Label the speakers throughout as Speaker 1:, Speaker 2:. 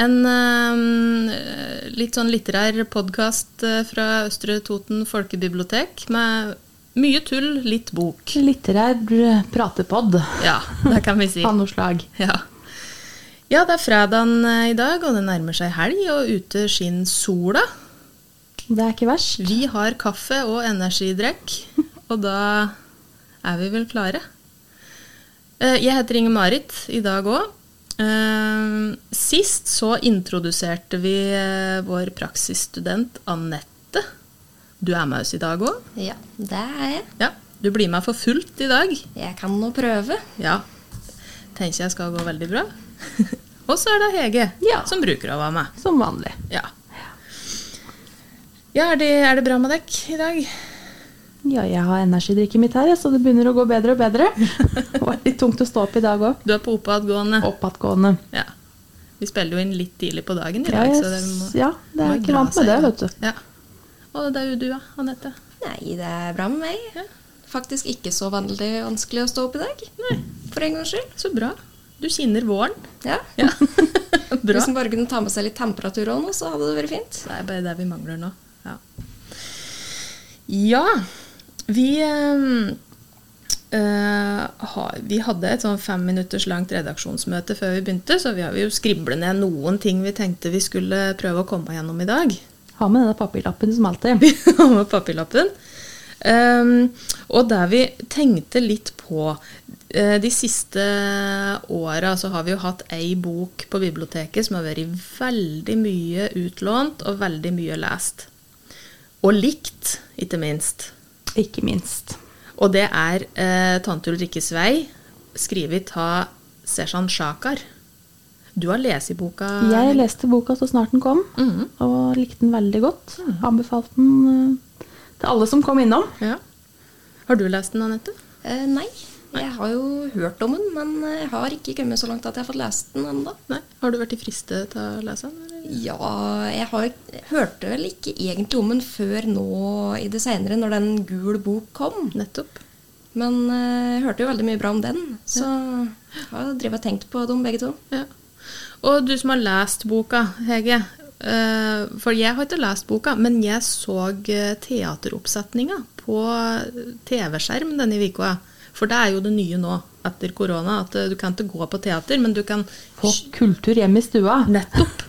Speaker 1: En eh, litt sånn litterær podkast fra Østre Toten folkebibliotek med mye tull, litt bok.
Speaker 2: Litterær br- pratepod
Speaker 1: Ja, det kan vi si.
Speaker 2: av noe slag.
Speaker 1: Ja. ja, det er fredagen eh, i dag, og det nærmer seg helg, og ute skinner sola.
Speaker 2: Det er ikke verst.
Speaker 1: Vi har kaffe og energidrikk, og da er vi vel klare. Eh, Jeg heter Inger-Marit i dag òg. Sist så introduserte vi eh, vår praksisstudent Anette. Du er med oss i dag òg.
Speaker 3: Ja, det er jeg.
Speaker 1: Ja, du blir med for fullt i dag.
Speaker 3: Jeg kan nå prøve.
Speaker 1: Ja. Tenker jeg skal gå veldig bra. og så er det Hege
Speaker 2: Ja.
Speaker 1: som bruker å være med.
Speaker 2: Som vanlig.
Speaker 1: Ja. Ja, er det, er det bra med dekk i dag?
Speaker 2: Ja, jeg har energidrikket mitt her, jeg, så det begynner å gå bedre og bedre. Det var litt tungt å stå opp i dag òg.
Speaker 1: Du er på oppadgående.
Speaker 2: Oppadgående.
Speaker 1: Ja. Vi spiller jo inn litt tidlig på dagen i
Speaker 2: Ja,
Speaker 1: dag,
Speaker 2: jeg
Speaker 1: så det må,
Speaker 2: s- ja, det er
Speaker 1: må
Speaker 2: ikke
Speaker 1: dra
Speaker 2: vant med
Speaker 1: seg
Speaker 2: det,
Speaker 1: i gang.
Speaker 2: vet du.
Speaker 1: Ja. Og det er jo du, ja, Anette.
Speaker 3: Nei, det er bra med meg.
Speaker 1: Ja.
Speaker 3: Faktisk ikke så vanlig vanskelig å stå opp i dag. Nei. For en gangs skyld.
Speaker 1: Så bra. Du kinner våren.
Speaker 3: Ja.
Speaker 1: Ja. bra.
Speaker 3: Hvis en bare kunne ta med seg litt temperatur òg nå, så hadde det vært fint.
Speaker 1: Det er bare det vi mangler nå. Ja. ja vi eh, eh, har- vi hadde et sånn fem minutters langt redaksjonsmøte før vi begynte, så vi har jo skriblet ned noen ting vi tenkte vi skulle prøve å komme gjennom i dag.
Speaker 2: Ha med denne papirlappen som alltid.
Speaker 1: vi har med papirlappen. Ehm, og der vi tenkte litt på eh, De siste åra så har vi jo hatt ei bok på biblioteket som har vært veldig mye utlånt og veldig mye lest. Og likt, ikke minst.
Speaker 2: Ikke minst.
Speaker 1: Og det er eh, 'Tante Ulrikkes vei', skrevet av Seshan Shakar. Du har lest i boka?
Speaker 2: Jeg leste boka så snart den kom,
Speaker 1: Mhm.
Speaker 2: og likte den veldig godt. Anbefalte den eh, til alle som kom innom.
Speaker 1: Ja. Har du lest den, Anette?
Speaker 3: Eh, nei. Jeg har jo hørt om den, men eh, jeg har ikke kommet så langt at jeg har fått lest den ennå.
Speaker 1: Nei. Har du vært i friste til å lese den? eller?
Speaker 3: Ja, jeg har, hørte vel ikke egentlig om den før nå i det seinere, når den gul bok kom.
Speaker 1: Nettopp.
Speaker 3: Men eh, jeg hørte jo veldig mye bra om den, så jeg har drevet og tenkt på dem begge to.
Speaker 1: Ja. Og du som har lest boka, Hege. eh, For jeg har ikke lest boka, men jeg så eh, teateroppsetninga på TV-skjerm denne uka. For det er jo det nye nå etter korona, at eh, du kan ikke gå på teater, men du kan
Speaker 2: På kultur hjemme i stua.
Speaker 1: Nettopp.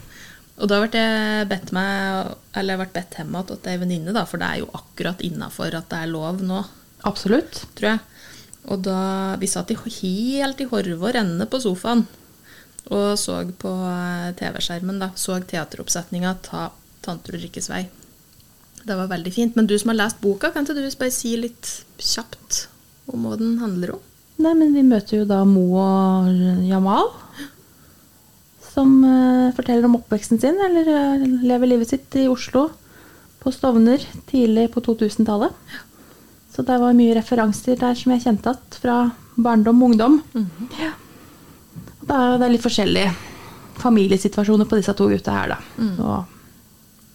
Speaker 1: Og da ble jeg bedt meg, eller jeg ble bedt hjem igjen av ei venninne, da, for det er jo akkurat innafor at det er lov nå,
Speaker 2: Absolutt.
Speaker 1: tror jeg. Og da Vi satt i, helt i horve og renne på sofaen og så på eh, TV-skjermen, da. Så teateroppsetninga ta 'Tanter og Rikkes vei'. Det var veldig fint. Men du som har lest boka, kan ikke du bare si litt kjapt om hva den handler om?
Speaker 2: Nei, men vi møter jo da Mo og Jamal. Som eh, forteller om oppveksten sin, eller eh, lever livet sitt i Oslo. På Stovner tidlig på 2000-tallet. Så det var mye referanser der som jeg kjente igjen fra barndom og ungdom. ja. Og det er jo det er litt forskjellige familiesituasjoner på disse to gutta her, da.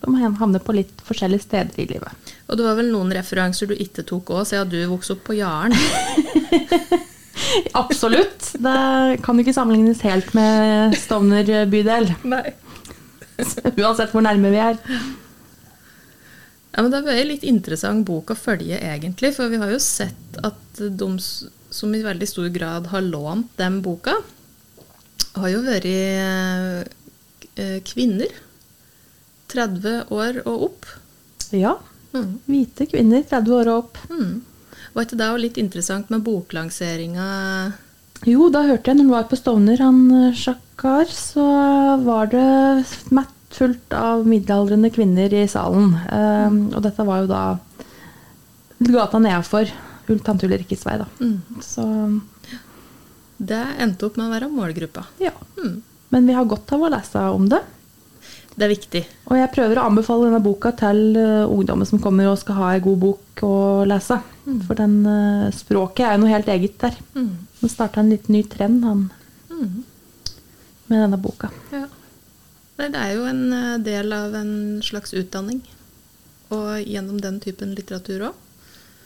Speaker 2: Og de havner på litt forskjellige steder i livet.
Speaker 1: Og det var vel noen referanser du ikke tok òg, siden du vokste opp på Jaren.
Speaker 2: Absolutt. Det kan jo ikke sammenlignes helt med Stovner bydel.
Speaker 1: Nei.
Speaker 2: Uansett hvor nærme vi er.
Speaker 1: Ja, men Det har vært en litt interessant bok å følge, egentlig. For vi har jo sett at de s- som i veldig stor grad har lånt den boka, har jo vært eh, k- eh, kvinner. 30 år og opp.
Speaker 2: Ja.
Speaker 1: Mm.
Speaker 2: Hvite kvinner, 30 år og opp.
Speaker 1: Mm. Var ikke det også litt interessant med boklanseringa?
Speaker 2: Jo, da hørte jeg når han var på Stovner, han eh, Sjakkar, så var det mettfullt av middelaldrende kvinner i salen. Ehm, og dette var jo da gata nedafor Ul- Tante Ulrikkes vei, da. Så
Speaker 1: Det endte Mm, opp med å være målgruppa.
Speaker 2: ja.
Speaker 1: Mm.
Speaker 2: Men vi har godt av å lese om det.
Speaker 1: Det er viktig.
Speaker 2: Og jeg prøver å anbefale denne boka til eh, ungdommer som kommer og skal ha ei god bok å lese. For den, eh, språket er jo noe helt eget der.
Speaker 1: Mm,
Speaker 2: Nå starta en liten ny trend han, med denne boka.
Speaker 1: Ja. Nei, det er jo en eh, del av en slags utdanning. Og gjennom den typen litteratur òg.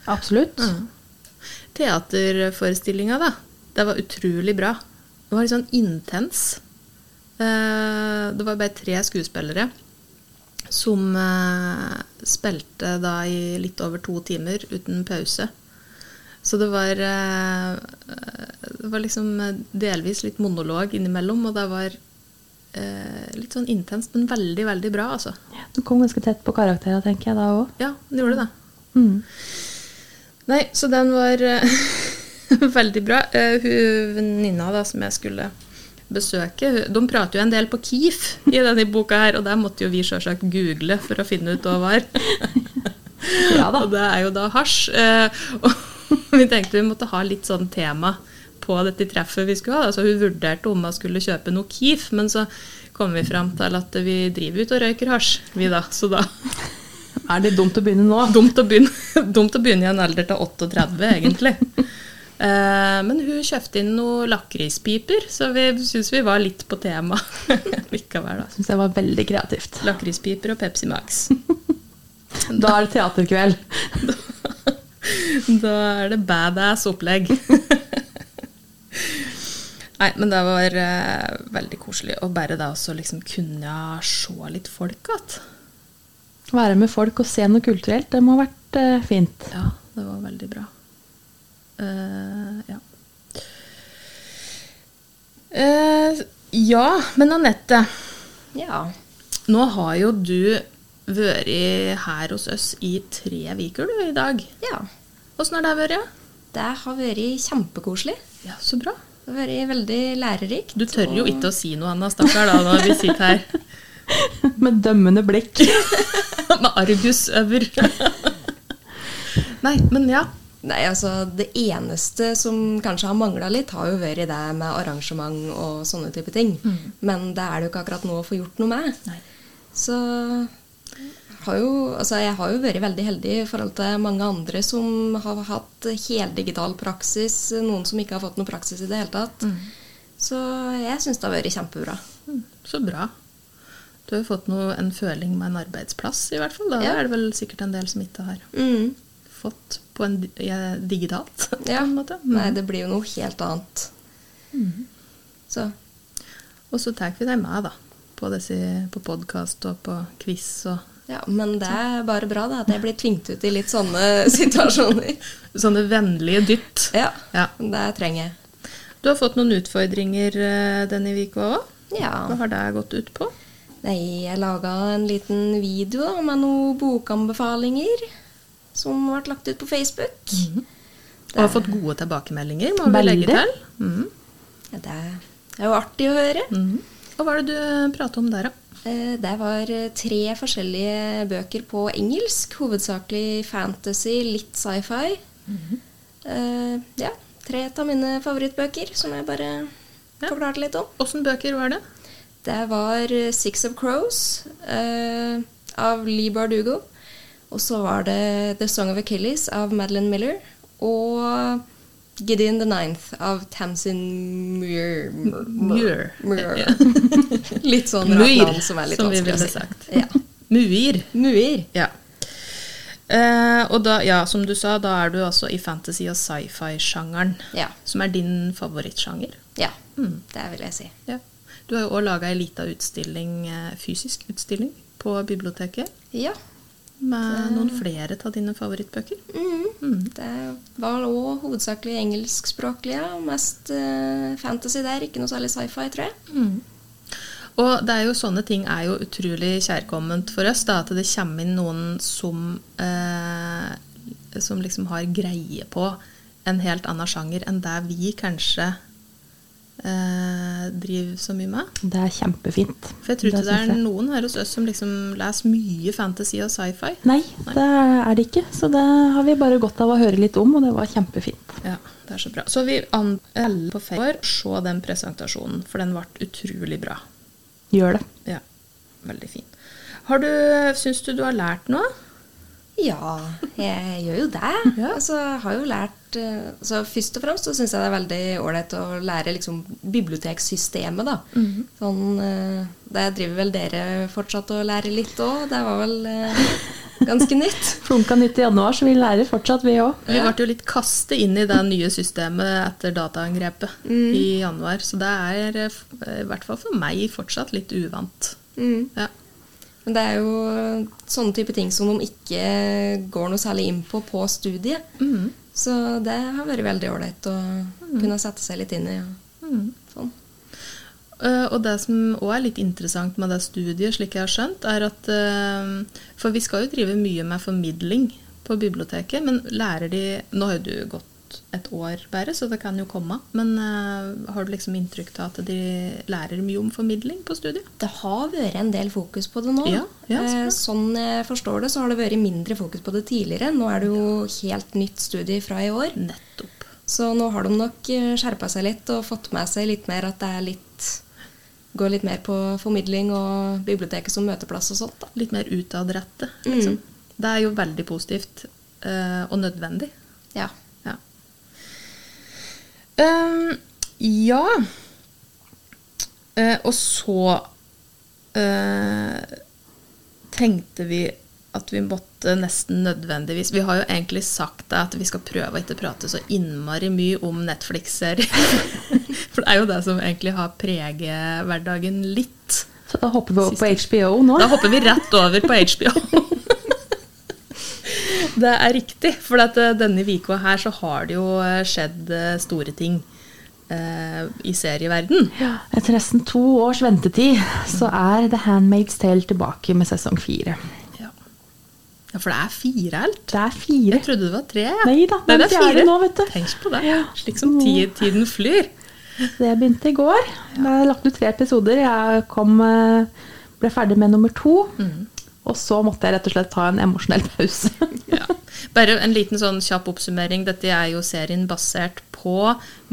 Speaker 2: Absolutt.
Speaker 1: Teaterforestillinga, da. Det var utrolig bra. Det var litt sånn intens. Eh, Det var bare tre skuespillere som eh, spilte da i litt over to timer uten pause. Så det var, eh, det var liksom delvis litt monolog innimellom, og det var eh, litt sånn intenst, men veldig, veldig bra, altså.
Speaker 2: Du kom ganske tett på karakterene, tenker jeg da òg.
Speaker 1: Ja, det gjorde det.
Speaker 2: Mm.
Speaker 1: Nei, så den var eh, veldig bra. Eh, hun venninna da, som jeg skulle besøke, hun, de prater jo en del på KIF i denne boka her, og der måtte jo vi sjølsagt google for å finne ut hva det var.
Speaker 2: Ja da.
Speaker 1: Og det er jo da hasj. Eh, og vi tenkte vi måtte ha litt sånn tema på dette treffet vi skulle ha. da. Så hun vurderte om hun skulle kjøpe noe KIF, men så kom vi fram til at vi driver ut og røyker hasj, vi da. Så da
Speaker 2: Er det dumt å begynne nå?
Speaker 1: Dumt å begynne, dumt å begynne i en alder til 38, egentlig. Eh, men hun kjøpte inn noen lakrispiper, så vi syns vi var litt på tema likevel. da.
Speaker 2: Syns jeg var veldig kreativt.
Speaker 1: Lakrispiper og Pepsi Max.
Speaker 2: Da er det teaterkveld.
Speaker 1: Da er det badass opplegg. Nei, men det var eh, veldig koselig. Og bare det også liksom kunne se litt folk igjen.
Speaker 2: Være med folk og se noe kulturelt, det må ha vært eh, fint.
Speaker 1: Ja, det var veldig bra. Eh, ja. Eh, ja, men Anette,
Speaker 3: Ja.
Speaker 1: nå har jo du vært her hos oss i tre uker du, i dag.
Speaker 3: ja.
Speaker 1: Åssen har det vært?
Speaker 3: Det har vært kjempekoselig.
Speaker 1: Ja, så bra.
Speaker 3: Det har vært veldig lærerikt.
Speaker 1: Du tør jo ikke å si noe annet, stakkar, da, når vi sitter her
Speaker 2: Med dømmende blikk.
Speaker 1: med Argus over. Nei, men ja.
Speaker 3: Nei, altså Det eneste som kanskje har mangla litt, har jo vært det med arrangement og sånne type ting. Men det er det jo ikke akkurat nå å få gjort noe med.
Speaker 1: Nei.
Speaker 3: Så har jo, altså jeg har jo vært veldig heldig i forhold til mange andre som har hatt heldigital praksis. Noen som ikke har fått noe praksis i det hele tatt. Så jeg syns det har vært kjempebra.
Speaker 1: Mm, Så bra. Du har jo fått noe, en føling med en arbeidsplass, i hvert fall. Da
Speaker 3: Ja.
Speaker 1: er det vel sikkert en del som ikke har
Speaker 3: Mm.
Speaker 1: fått på en di- eh, digitalt. på
Speaker 3: Ja.
Speaker 1: en måte. Mm.
Speaker 3: Nei, det blir jo noe helt annet. Så
Speaker 1: Og så tar vi deg med, da. På, disse- på podkast og på quiz og
Speaker 3: ja, Men det er bare bra da, at jeg blir tvingt ut i litt sånne situasjoner.
Speaker 1: sånne vennlige dytt.
Speaker 3: Ja,
Speaker 1: Ja.
Speaker 3: det trenger jeg.
Speaker 1: Du har fått noen utfordringer eh, denne uka òg. Hva
Speaker 3: Ja.
Speaker 1: har det gått ut på?
Speaker 3: Nei, jeg laga en liten video da, med noen bokanbefalinger som ble lagt ut på Facebook.
Speaker 1: Mm. Og har fått gode tilbakemeldinger, må vi
Speaker 2: Veldig.
Speaker 1: legge til. Mhm.
Speaker 3: Ja, det er jo artig å høre.
Speaker 1: Mhm. Og hva er det du prater om der, da?
Speaker 3: Eh, Det var eh, tre forskjellige bøker på engelsk. Hovedsakelig fantasy, litt sci-fi.
Speaker 1: Mhm.
Speaker 3: Eh, ja, tre av mine favorittbøker som jeg bare
Speaker 1: Ja.
Speaker 3: forklarte litt om.
Speaker 1: Åssen bøker var det?
Speaker 3: Det var eh, Six of Crows eh, av Lee Bardugo. Og så var det The Song of Achilles av Madeleine Miller. Og Gideon the Ninth av Tamsin Muir.
Speaker 1: Muir.
Speaker 3: Muir. Litt sånn rart
Speaker 1: Muir,
Speaker 3: navn som er litt
Speaker 1: som vi
Speaker 3: vanskelig
Speaker 1: ville
Speaker 3: å si.
Speaker 1: sagt.
Speaker 3: Ja.
Speaker 1: Muir.
Speaker 3: Muir.
Speaker 1: Ja. Eh, og da, ja, som du sa, da er du altså i fantasy- og sci-fi-sjangeren.
Speaker 3: Ja.
Speaker 1: Som er din favorittsjanger. Hmm,
Speaker 3: Ja, det vil jeg si.
Speaker 1: Ja. Du har jo òg laga ei lita utstilling, eh, fysisk utstilling, på biblioteket.
Speaker 3: Ja.
Speaker 1: Med noen flere av dine favorittbøker.
Speaker 3: Mm. Det var òg hovedsakelig engelskspråklige. og Mest eh, fantasy der, ikke noe særlig sci-fi, tror jeg.
Speaker 1: Mm. Og det er jo sånne ting er jo utrolig kjærkomment for oss, da, at det kommer inn noen som, eh, som liksom har greie på en helt annen sjanger enn det vi kanskje eh, driver så mye med.
Speaker 2: Det er kjempefint.
Speaker 1: For jeg tror ikke det
Speaker 2: syns
Speaker 1: er noen her hos oss som liksom leser mye fantasy og sci-fi.
Speaker 2: Nei, det er det ikke. Så det har vi bare godt av å høre litt om, og det var kjempefint.
Speaker 1: Ja, det er Så bra. Så vi anbefaler på Facebook se den presentasjonen, for den ble utrolig bra.
Speaker 2: Gjør det.
Speaker 1: Ja. Veldig fin. Har du, Syns du du har lært noe?
Speaker 3: Ja, jeg gjør jo det.
Speaker 1: Ja.
Speaker 3: Altså, jeg har jo lært eh, altså, Først og fremst så syns jeg det er veldig ålreit å lære liksom, biblioteksystemet, da. Sånn eh, Der driver vel dere fortsatt og lærer litt òg. Det var vel eh, ganske nytt.
Speaker 2: Flunka nytt i januar, så vi lærer fortsatt, vi òg.
Speaker 1: Vi ble jo litt kastet inn i det nye systemet etter dataangrepet i januar, så det er eh, f- eh, i hvert fall for meg fortsatt litt uvant.
Speaker 3: Mm.
Speaker 1: Ja.
Speaker 3: Men det er jo eh, sånne type ting som de ikke går noe særlig inn på på studiet. Så det har vært veldig ålreit å
Speaker 1: Mm.
Speaker 3: kunne sette seg litt inn i. og Sånn.
Speaker 1: Eh, Og det som òg er litt interessant med det studiet, slik jeg har skjønt, er at eh, For vi skal jo drive mye med formidling på biblioteket, men lærer de Nå har jo du gått et år bare, så det kan jo komme, men eh, har du liksom inntrykk av at de lærer mye om formidling på studiet?
Speaker 3: Det har vært en del fokus på det nå.
Speaker 1: Ja, ja, så bra.
Speaker 3: Eh, sånn jeg forstår det, så har det vært mindre fokus på det tidligere. Nå er det jo helt nytt studie fra i år.
Speaker 1: Mm. Nettopp.
Speaker 3: Så nå har de nok skjerpa seg litt og fått med seg litt mer at det er litt Går litt mer på formidling og biblioteket som møteplass og sånt, da.
Speaker 1: Litt mer utadrettet, liksom. Det er jo veldig positivt, eh, og nødvendig.
Speaker 3: Ja.
Speaker 1: Ja. Ehm, ja. Eh, og så eh, tenkte vi at vi måtte nesten nødvendigvis Vi har jo egentlig sagt det at vi skal prøve å ikke prate så innmari mye om Netflix-serier. For det er jo det som egentlig har preget hverdagen litt.
Speaker 2: Så da hopper vi opp på HBO nå.
Speaker 1: Da hopper vi rett over på HBO. det er riktig, for at eh, denne uka her så har det jo eh, skjedd eh, store ting eh, i serieverden.
Speaker 2: Ja, etter nesten to års ventetid så er The Handmaid's Tale tilbake med sesong fire.
Speaker 1: Ja. for det er fire alt.
Speaker 2: Det er fire.
Speaker 1: Jeg trodde det var tre. ja.
Speaker 2: Nei da,
Speaker 1: Nei,
Speaker 2: den
Speaker 1: det er
Speaker 2: fjerde
Speaker 1: fire.
Speaker 2: nå, vet du.
Speaker 1: Tenk på det.
Speaker 2: Ja.
Speaker 1: Slik som ti- tiden flyr.
Speaker 2: Så jeg begynte i går. Da jeg lagt ut tre episoder. Jeg kom, eh, ble ferdig med nummer to.
Speaker 1: Mm.
Speaker 2: Og så måtte jeg rett og slett ta en emosjonell pause.
Speaker 1: Ja. Bare en liten sånn kjapp oppsummering. Dette er jo serien basert på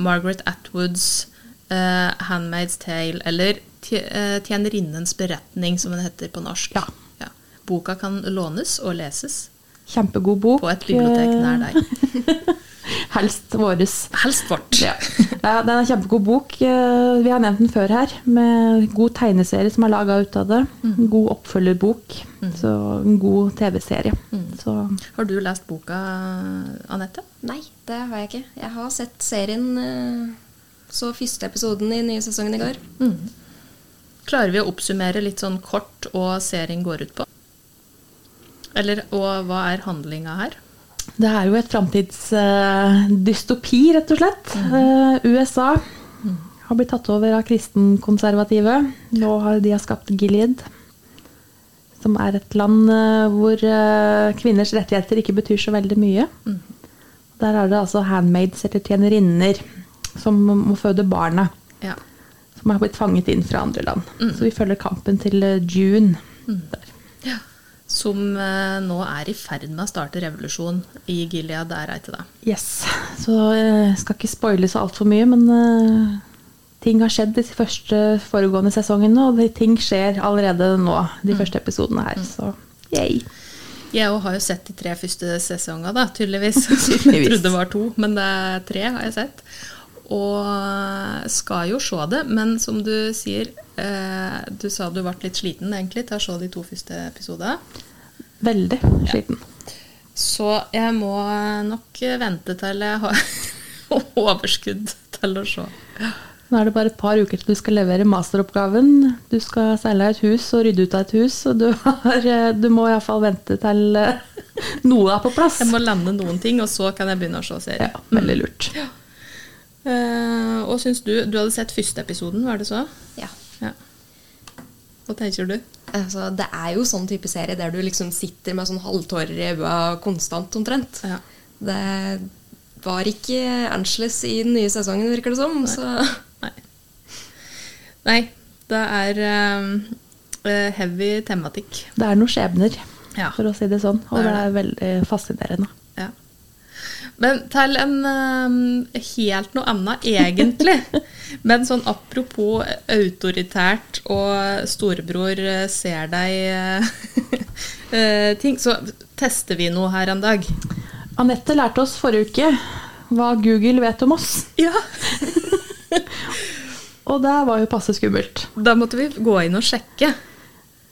Speaker 1: Margaret Atwoods eh, 'Handmaid's Tale', eller Tje- eh, 'Tjenerinnens beretning', som den heter på norsk.
Speaker 2: Ja.
Speaker 1: Boka kan lånes og leses
Speaker 2: Kjempegod bok.
Speaker 1: på et bibliotek nær deg.
Speaker 2: Eh, Helst våres.
Speaker 1: Helst vårt.
Speaker 2: Ja. ja, den er en kjempegod bok. Eh, Vi har nevnt den før her, med god tegneserie som er laga ut av det.
Speaker 1: Mm.
Speaker 2: God oppfølgerbok. Så en god TV-serie.
Speaker 1: Mm.
Speaker 2: Så
Speaker 1: Har du lest boka, Anette?
Speaker 3: Nei, det har jeg ikke. Jeg har sett serien eh, så første episoden i nye sesongen i går.
Speaker 1: Klarer vi å oppsummere litt sånn kort hva serien går ut på? Eller, og hva er handlinga her?
Speaker 2: det er jo et framtidsdystopi, rett og slett. Eh, USA har blitt tatt over av kristenkonservative. Nå har de har skapt Gilead. Som er et land eh, hvor eh, kvinners rettigheter ikke betyr så veldig mye. Der er det altså handmaids eller tjenerinner som må føde barna.
Speaker 1: Ja.
Speaker 2: Som har blitt fanget inn fra andre land. Så vi følger kampen til eh, June. Der.
Speaker 1: Ja. Som eh, nå er i ferd med å starte revolusjon i Gilead. Det er ikke det.
Speaker 2: Yes. Så jeg skal ikke spoile så altfor mye, men eh, ting har skjedd de første foregående sesongene, og de ting skjer allerede nå, de første episodene her. Så yay.
Speaker 1: Jeg òg har jo sett de tre første sesongene, da, tydeligvis. Jeg
Speaker 2: Tydeligvis.
Speaker 1: trodde det var to, men det er tre har jeg sett. Og eh, skal jo se det, men som du sier eh, Du sa du ble litt sliten egentlig til å se de to første episodene.
Speaker 2: Veldig sliten.
Speaker 1: Så jeg må eh, nok vente til jeg har overskudd til å se.
Speaker 2: Nå er det bare et par uker til du skal levere masteroppgaven. Du skal seile av et hus og rydde ut av et hus, og du, har, eh, du må iallfall vente til eh, noe er på plass.
Speaker 1: Jeg må lande noen ting, og så kan jeg begynne å se serien.
Speaker 2: Mm. Ja, veldig lurt.
Speaker 1: Eh, og syns du Du hadde sett første episoden, var det så?
Speaker 3: Ja.
Speaker 1: Ja. Hva tenker du?
Speaker 3: Altså, det er jo sånn type serie der du liksom sitter med sånn halvtårer i øynene konstant omtrent.
Speaker 1: Ja.
Speaker 3: Det var ikke Angeles i den nye sesongen, virker det som. Så
Speaker 1: Nei. Nei, det er eh, heavy tematikk.
Speaker 2: Det er noen skjebner,
Speaker 1: Ja.
Speaker 2: for å si det sånn, og
Speaker 1: Det
Speaker 2: det
Speaker 1: er
Speaker 2: er veldig fascinerende.
Speaker 1: Ja. Men til en eh, helt noe annet, egentlig. Men sånn apropos autoritært og storebror eh, ser deg eh, eh, ting, så tester vi noe her en dag.
Speaker 2: Anette lærte oss forrige uke hva Google vet om oss.
Speaker 1: Ja.
Speaker 2: Og det var jo passe skummelt.
Speaker 1: Da måtte vi gå inn og sjekke.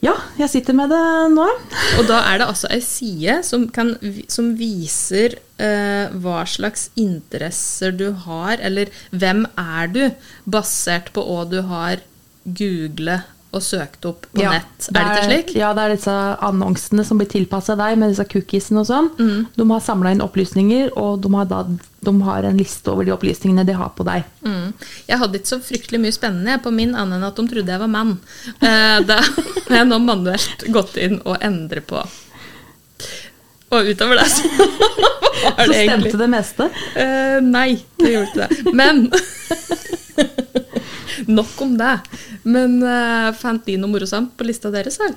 Speaker 2: Ja, jeg sitter med det nå.
Speaker 1: Og da er det altså ei side som, kan, vi- som viser eh, hva slags interesser du har, eller hvem er du, basert på hva du har googlet og søkt opp på nett. Er det ikke slik?
Speaker 2: Ja, det er disse annonsene som blir tilpassa deg, med disse cookiesene og sånn.
Speaker 1: Mm.
Speaker 2: De har samla inn opplysninger, og de har, da, de har en liste over de opplysningene de har på deg.
Speaker 1: Mm. Jeg hadde ikke så fryktelig mye spennende jeg, på min, annet enn at de trodde jeg var mann. Eh, det har jeg nå manuelt gått inn og endret på. Og utover det så var
Speaker 2: Så
Speaker 1: det egentlig
Speaker 2: stemte det meste.
Speaker 1: Eh, nei, det gjorde ikke det. Men Nok om det. Men eh, fant de noe morsomt på lista deres? Her?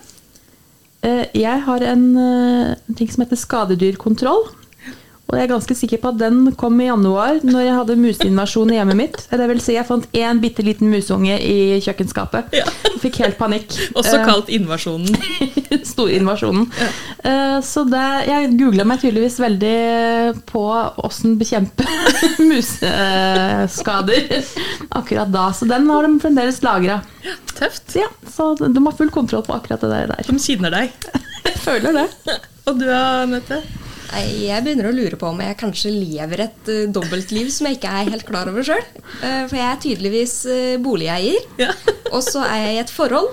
Speaker 2: Eh, Jeg har en eh, ting som heter skadedyrkontroll. Og jeg er ganske sikker på at den kom i januar, når jeg hadde museinvasjon i hjemmet mitt. Det vil si, jeg fant én bitte liten museunge i kjøkkenskapet.
Speaker 1: Ja.
Speaker 2: Fikk helt panikk.
Speaker 1: Også
Speaker 2: Eh,
Speaker 1: kalt invasjonen.
Speaker 2: Storinvasjonen. Eh, Så det, jeg googla meg tydeligvis veldig på åssen bekjempe museskader akkurat da. Så den har de fremdeles lagra.
Speaker 1: Tøft.
Speaker 2: Ja, så de har full kontroll på akkurat det der.
Speaker 1: De kjenner deg.
Speaker 2: Jeg føler det.
Speaker 1: Og du, Anette?
Speaker 3: Nei, Jeg begynner å lure på om jeg kanskje lever et eh, dobbeltliv som jeg ikke er helt klar over sjøl. for jeg er tydeligvis eh, boligeier,
Speaker 1: Ja.
Speaker 3: og så er jeg i et forhold.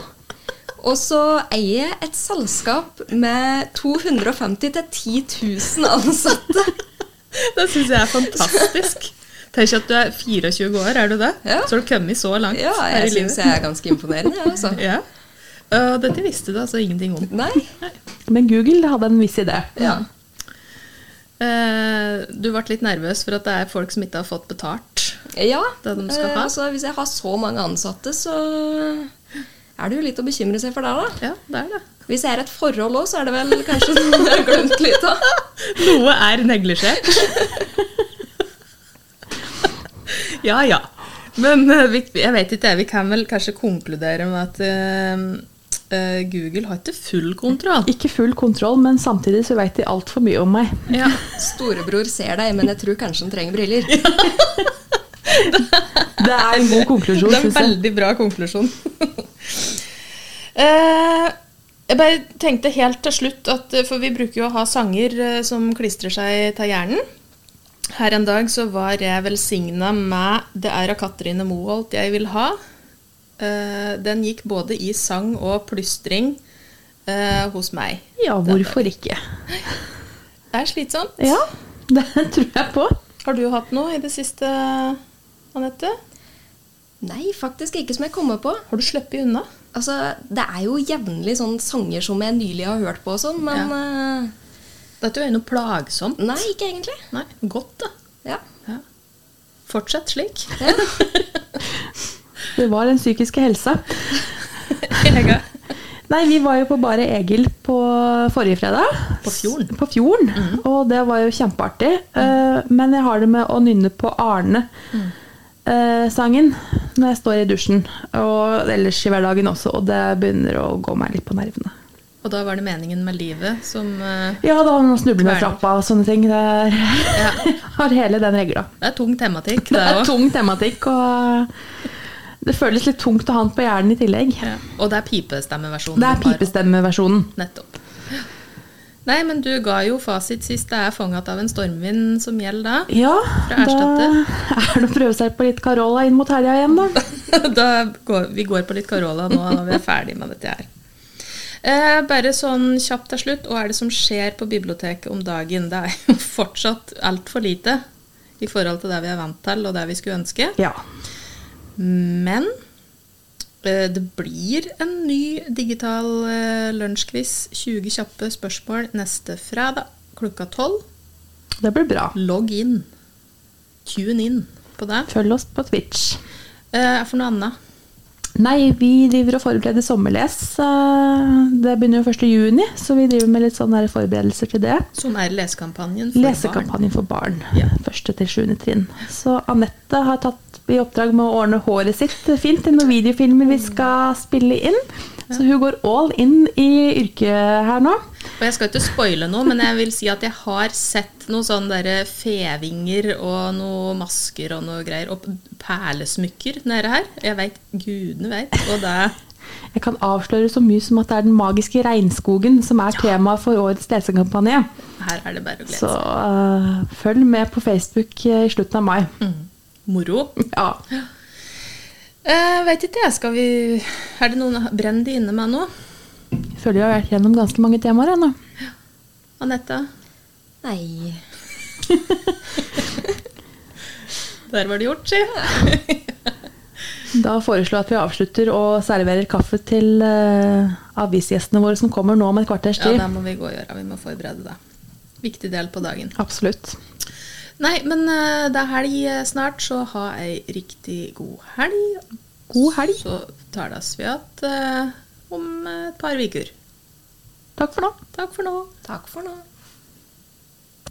Speaker 3: Og så eier jeg et selskap med 250 000-10 000 ansatte.
Speaker 1: Det syns jeg er fantastisk. Tenk at du er 24 år, er du det?
Speaker 3: Ja.
Speaker 1: Så har du kommet så langt
Speaker 3: Ja,
Speaker 1: her i
Speaker 3: jeg syns
Speaker 1: livet.
Speaker 3: jeg er ganske imponerende, jeg, altså.
Speaker 1: Ja. Og dette visste du altså ingenting om.
Speaker 3: Nei.
Speaker 2: Men Google hadde en viss idé.
Speaker 3: Ja.
Speaker 1: Eh, du ble litt nervøs for at det er folk som ikke har fått betalt.
Speaker 3: ja.
Speaker 1: Det de skal
Speaker 3: eh,
Speaker 1: ha.
Speaker 3: altså, hvis jeg har så mange ansatte, så er det jo litt å bekymre seg for der, da.
Speaker 1: Ja, det er det.
Speaker 3: Hvis jeg er i et forhold òg, så er det vel kanskje noe jeg har glemt litt av.
Speaker 1: Noe er neglisjert. ja, ja. Men eh, vi, jeg vet ikke, jeg. vi kan vel kanskje konkludere med at eh, eh, Google har ikke full kontroll.
Speaker 2: Ikke full kontroll, men samtidig så veit de altfor mye om meg.
Speaker 1: Ja,
Speaker 3: Storebror ser deg, men jeg tror kanskje han trenger briller.
Speaker 2: Det er en god konklusjon,
Speaker 1: det er en
Speaker 2: syns jeg.
Speaker 1: veldig bra konklusjon. Eh, jeg bare tenkte helt til slutt at eh, For vi bruker jo å ha sanger eh, som klistrer seg til hjernen. Her en dag så var jeg velsigna med 'Det er av Katrine Moholt jeg vil ha'. Eh, den gikk både i sang og plystring eh, hos meg.
Speaker 2: Ja, hvorfor ikke?
Speaker 1: Det er slitsomt.
Speaker 2: Ja, det tror jeg på.
Speaker 1: Har du hatt noe i det siste, Anette?
Speaker 3: Nei, faktisk ikke som jeg kommer på.
Speaker 1: Har du sluppet unna?
Speaker 3: Altså, Det er jo jevnlig sånne sanger som jeg nylig har hørt på og sånn, men eh,
Speaker 1: Dette er jo noe plagsomt.
Speaker 3: Nei, ikke egentlig.
Speaker 1: Nei, godt, da.
Speaker 3: Ja.
Speaker 1: Ja. Fortsett slik.
Speaker 2: Det var den psykiske helsa.
Speaker 1: Ega.
Speaker 2: Nei, vi var jo på Bare Egil på forrige fredag.
Speaker 1: På fjorden. Mhm.
Speaker 2: På fjorden, Og det var jo kjempeartig. Eh, Men jeg har det med å nynne på
Speaker 1: Mm.
Speaker 2: Arne-sangen når jeg står i dusjen. Og ellers i hverdagen også, og det begynner å gå meg litt på nervene.
Speaker 1: Og da var det meningen med livet som eh,
Speaker 2: Ja, da man snubler med
Speaker 1: Verden.
Speaker 2: trappa og sånne ting. Det er,
Speaker 1: Ja.
Speaker 2: har hele den regla.
Speaker 1: Det er tung tematikk,
Speaker 2: Det
Speaker 1: det
Speaker 2: er
Speaker 1: òg.
Speaker 2: tung tematikk, og det føles litt tungt å ha den på hjernen i tillegg.
Speaker 1: Ja. Og det er pipestemmeversjonen.
Speaker 2: Det er
Speaker 1: de har.
Speaker 2: pipestemmeversjonen.
Speaker 1: Nettopp. Nei, men du ga jo fasit sist. Det er fanget av en stormvind som gjelder da.
Speaker 2: Ja,
Speaker 1: Fra
Speaker 2: da er det å prøve seg på litt Carola inn mot helga igjen, da.
Speaker 1: da går, vi går på litt Carola nå når vi er ferdig med dette her. Eh, bare sånn kjapt til slutt, hva er det som skjer på biblioteket om dagen? Det er jo fortsatt altfor lite i forhold til det vi er vant til, og det vi skulle ønske.
Speaker 2: Ja.
Speaker 1: Men eh, det blir en ny digital eh, lunsjquiz. 20 kjappe spørsmål neste fredag klokka 12.
Speaker 2: Det blir bra.
Speaker 1: Logg inn. Tune inn på det.
Speaker 2: Følg oss på Twitch.
Speaker 1: Eh, for noe annet.
Speaker 2: Nei, vi driver og forbereder sommerles. eh, Det begynner jo 1. juni, så vi driver med litt sånne her forberedelser til det.
Speaker 1: Som er lesekampanjen for barn.
Speaker 2: Lesekampanjen for barn.
Speaker 1: Ja.
Speaker 2: Første til sjuende trinn. Så Anette har tatt i oppdrag med å ordne håret sitt fint til noen videofilmer vi skal spille inn. Så hun går all in i yrket her nå.
Speaker 1: Og jeg skal ikke spoile noe, men jeg vil si at jeg har sett noen sånne der eh, fevinger og noe masker og noe greier, og perlesmykker nede her. Jeg veit, gudene veit, og det
Speaker 2: Jeg kan avsløre så mye som at det er den magiske regnskogen som er temaet for årets lesekampanje.
Speaker 1: her er det bare å glede
Speaker 2: Så
Speaker 1: seg.
Speaker 2: eh, følg med på Facebook eh, i slutten av mai.
Speaker 1: Mm. Moro.
Speaker 2: Ja.
Speaker 1: Eh, veit ikke jeg, skal vi Er det noen brenn de inne med nå?
Speaker 2: Føler jeg har vært gjennom ganske mange temaer ennå.
Speaker 1: Anette?
Speaker 3: Nei.
Speaker 1: Der var det gjort, si.
Speaker 2: Da foreslår jeg at vi avslutter og serverer kaffe til eh, avisgjestene våre som kommer nå om et kvarters
Speaker 1: Ja,
Speaker 2: tid.
Speaker 1: det må vi gå og gjøre. Vi må forberede det. Viktig del på dagen.
Speaker 2: Absolutt.
Speaker 1: Nei, men eh, det er helg eh, snart, så ha ei riktig god helg.
Speaker 2: God helg.
Speaker 1: Så tales vi igjen eh, om et par uker.
Speaker 2: Takk for nå.
Speaker 1: Takk for nå.
Speaker 3: Takk for nå.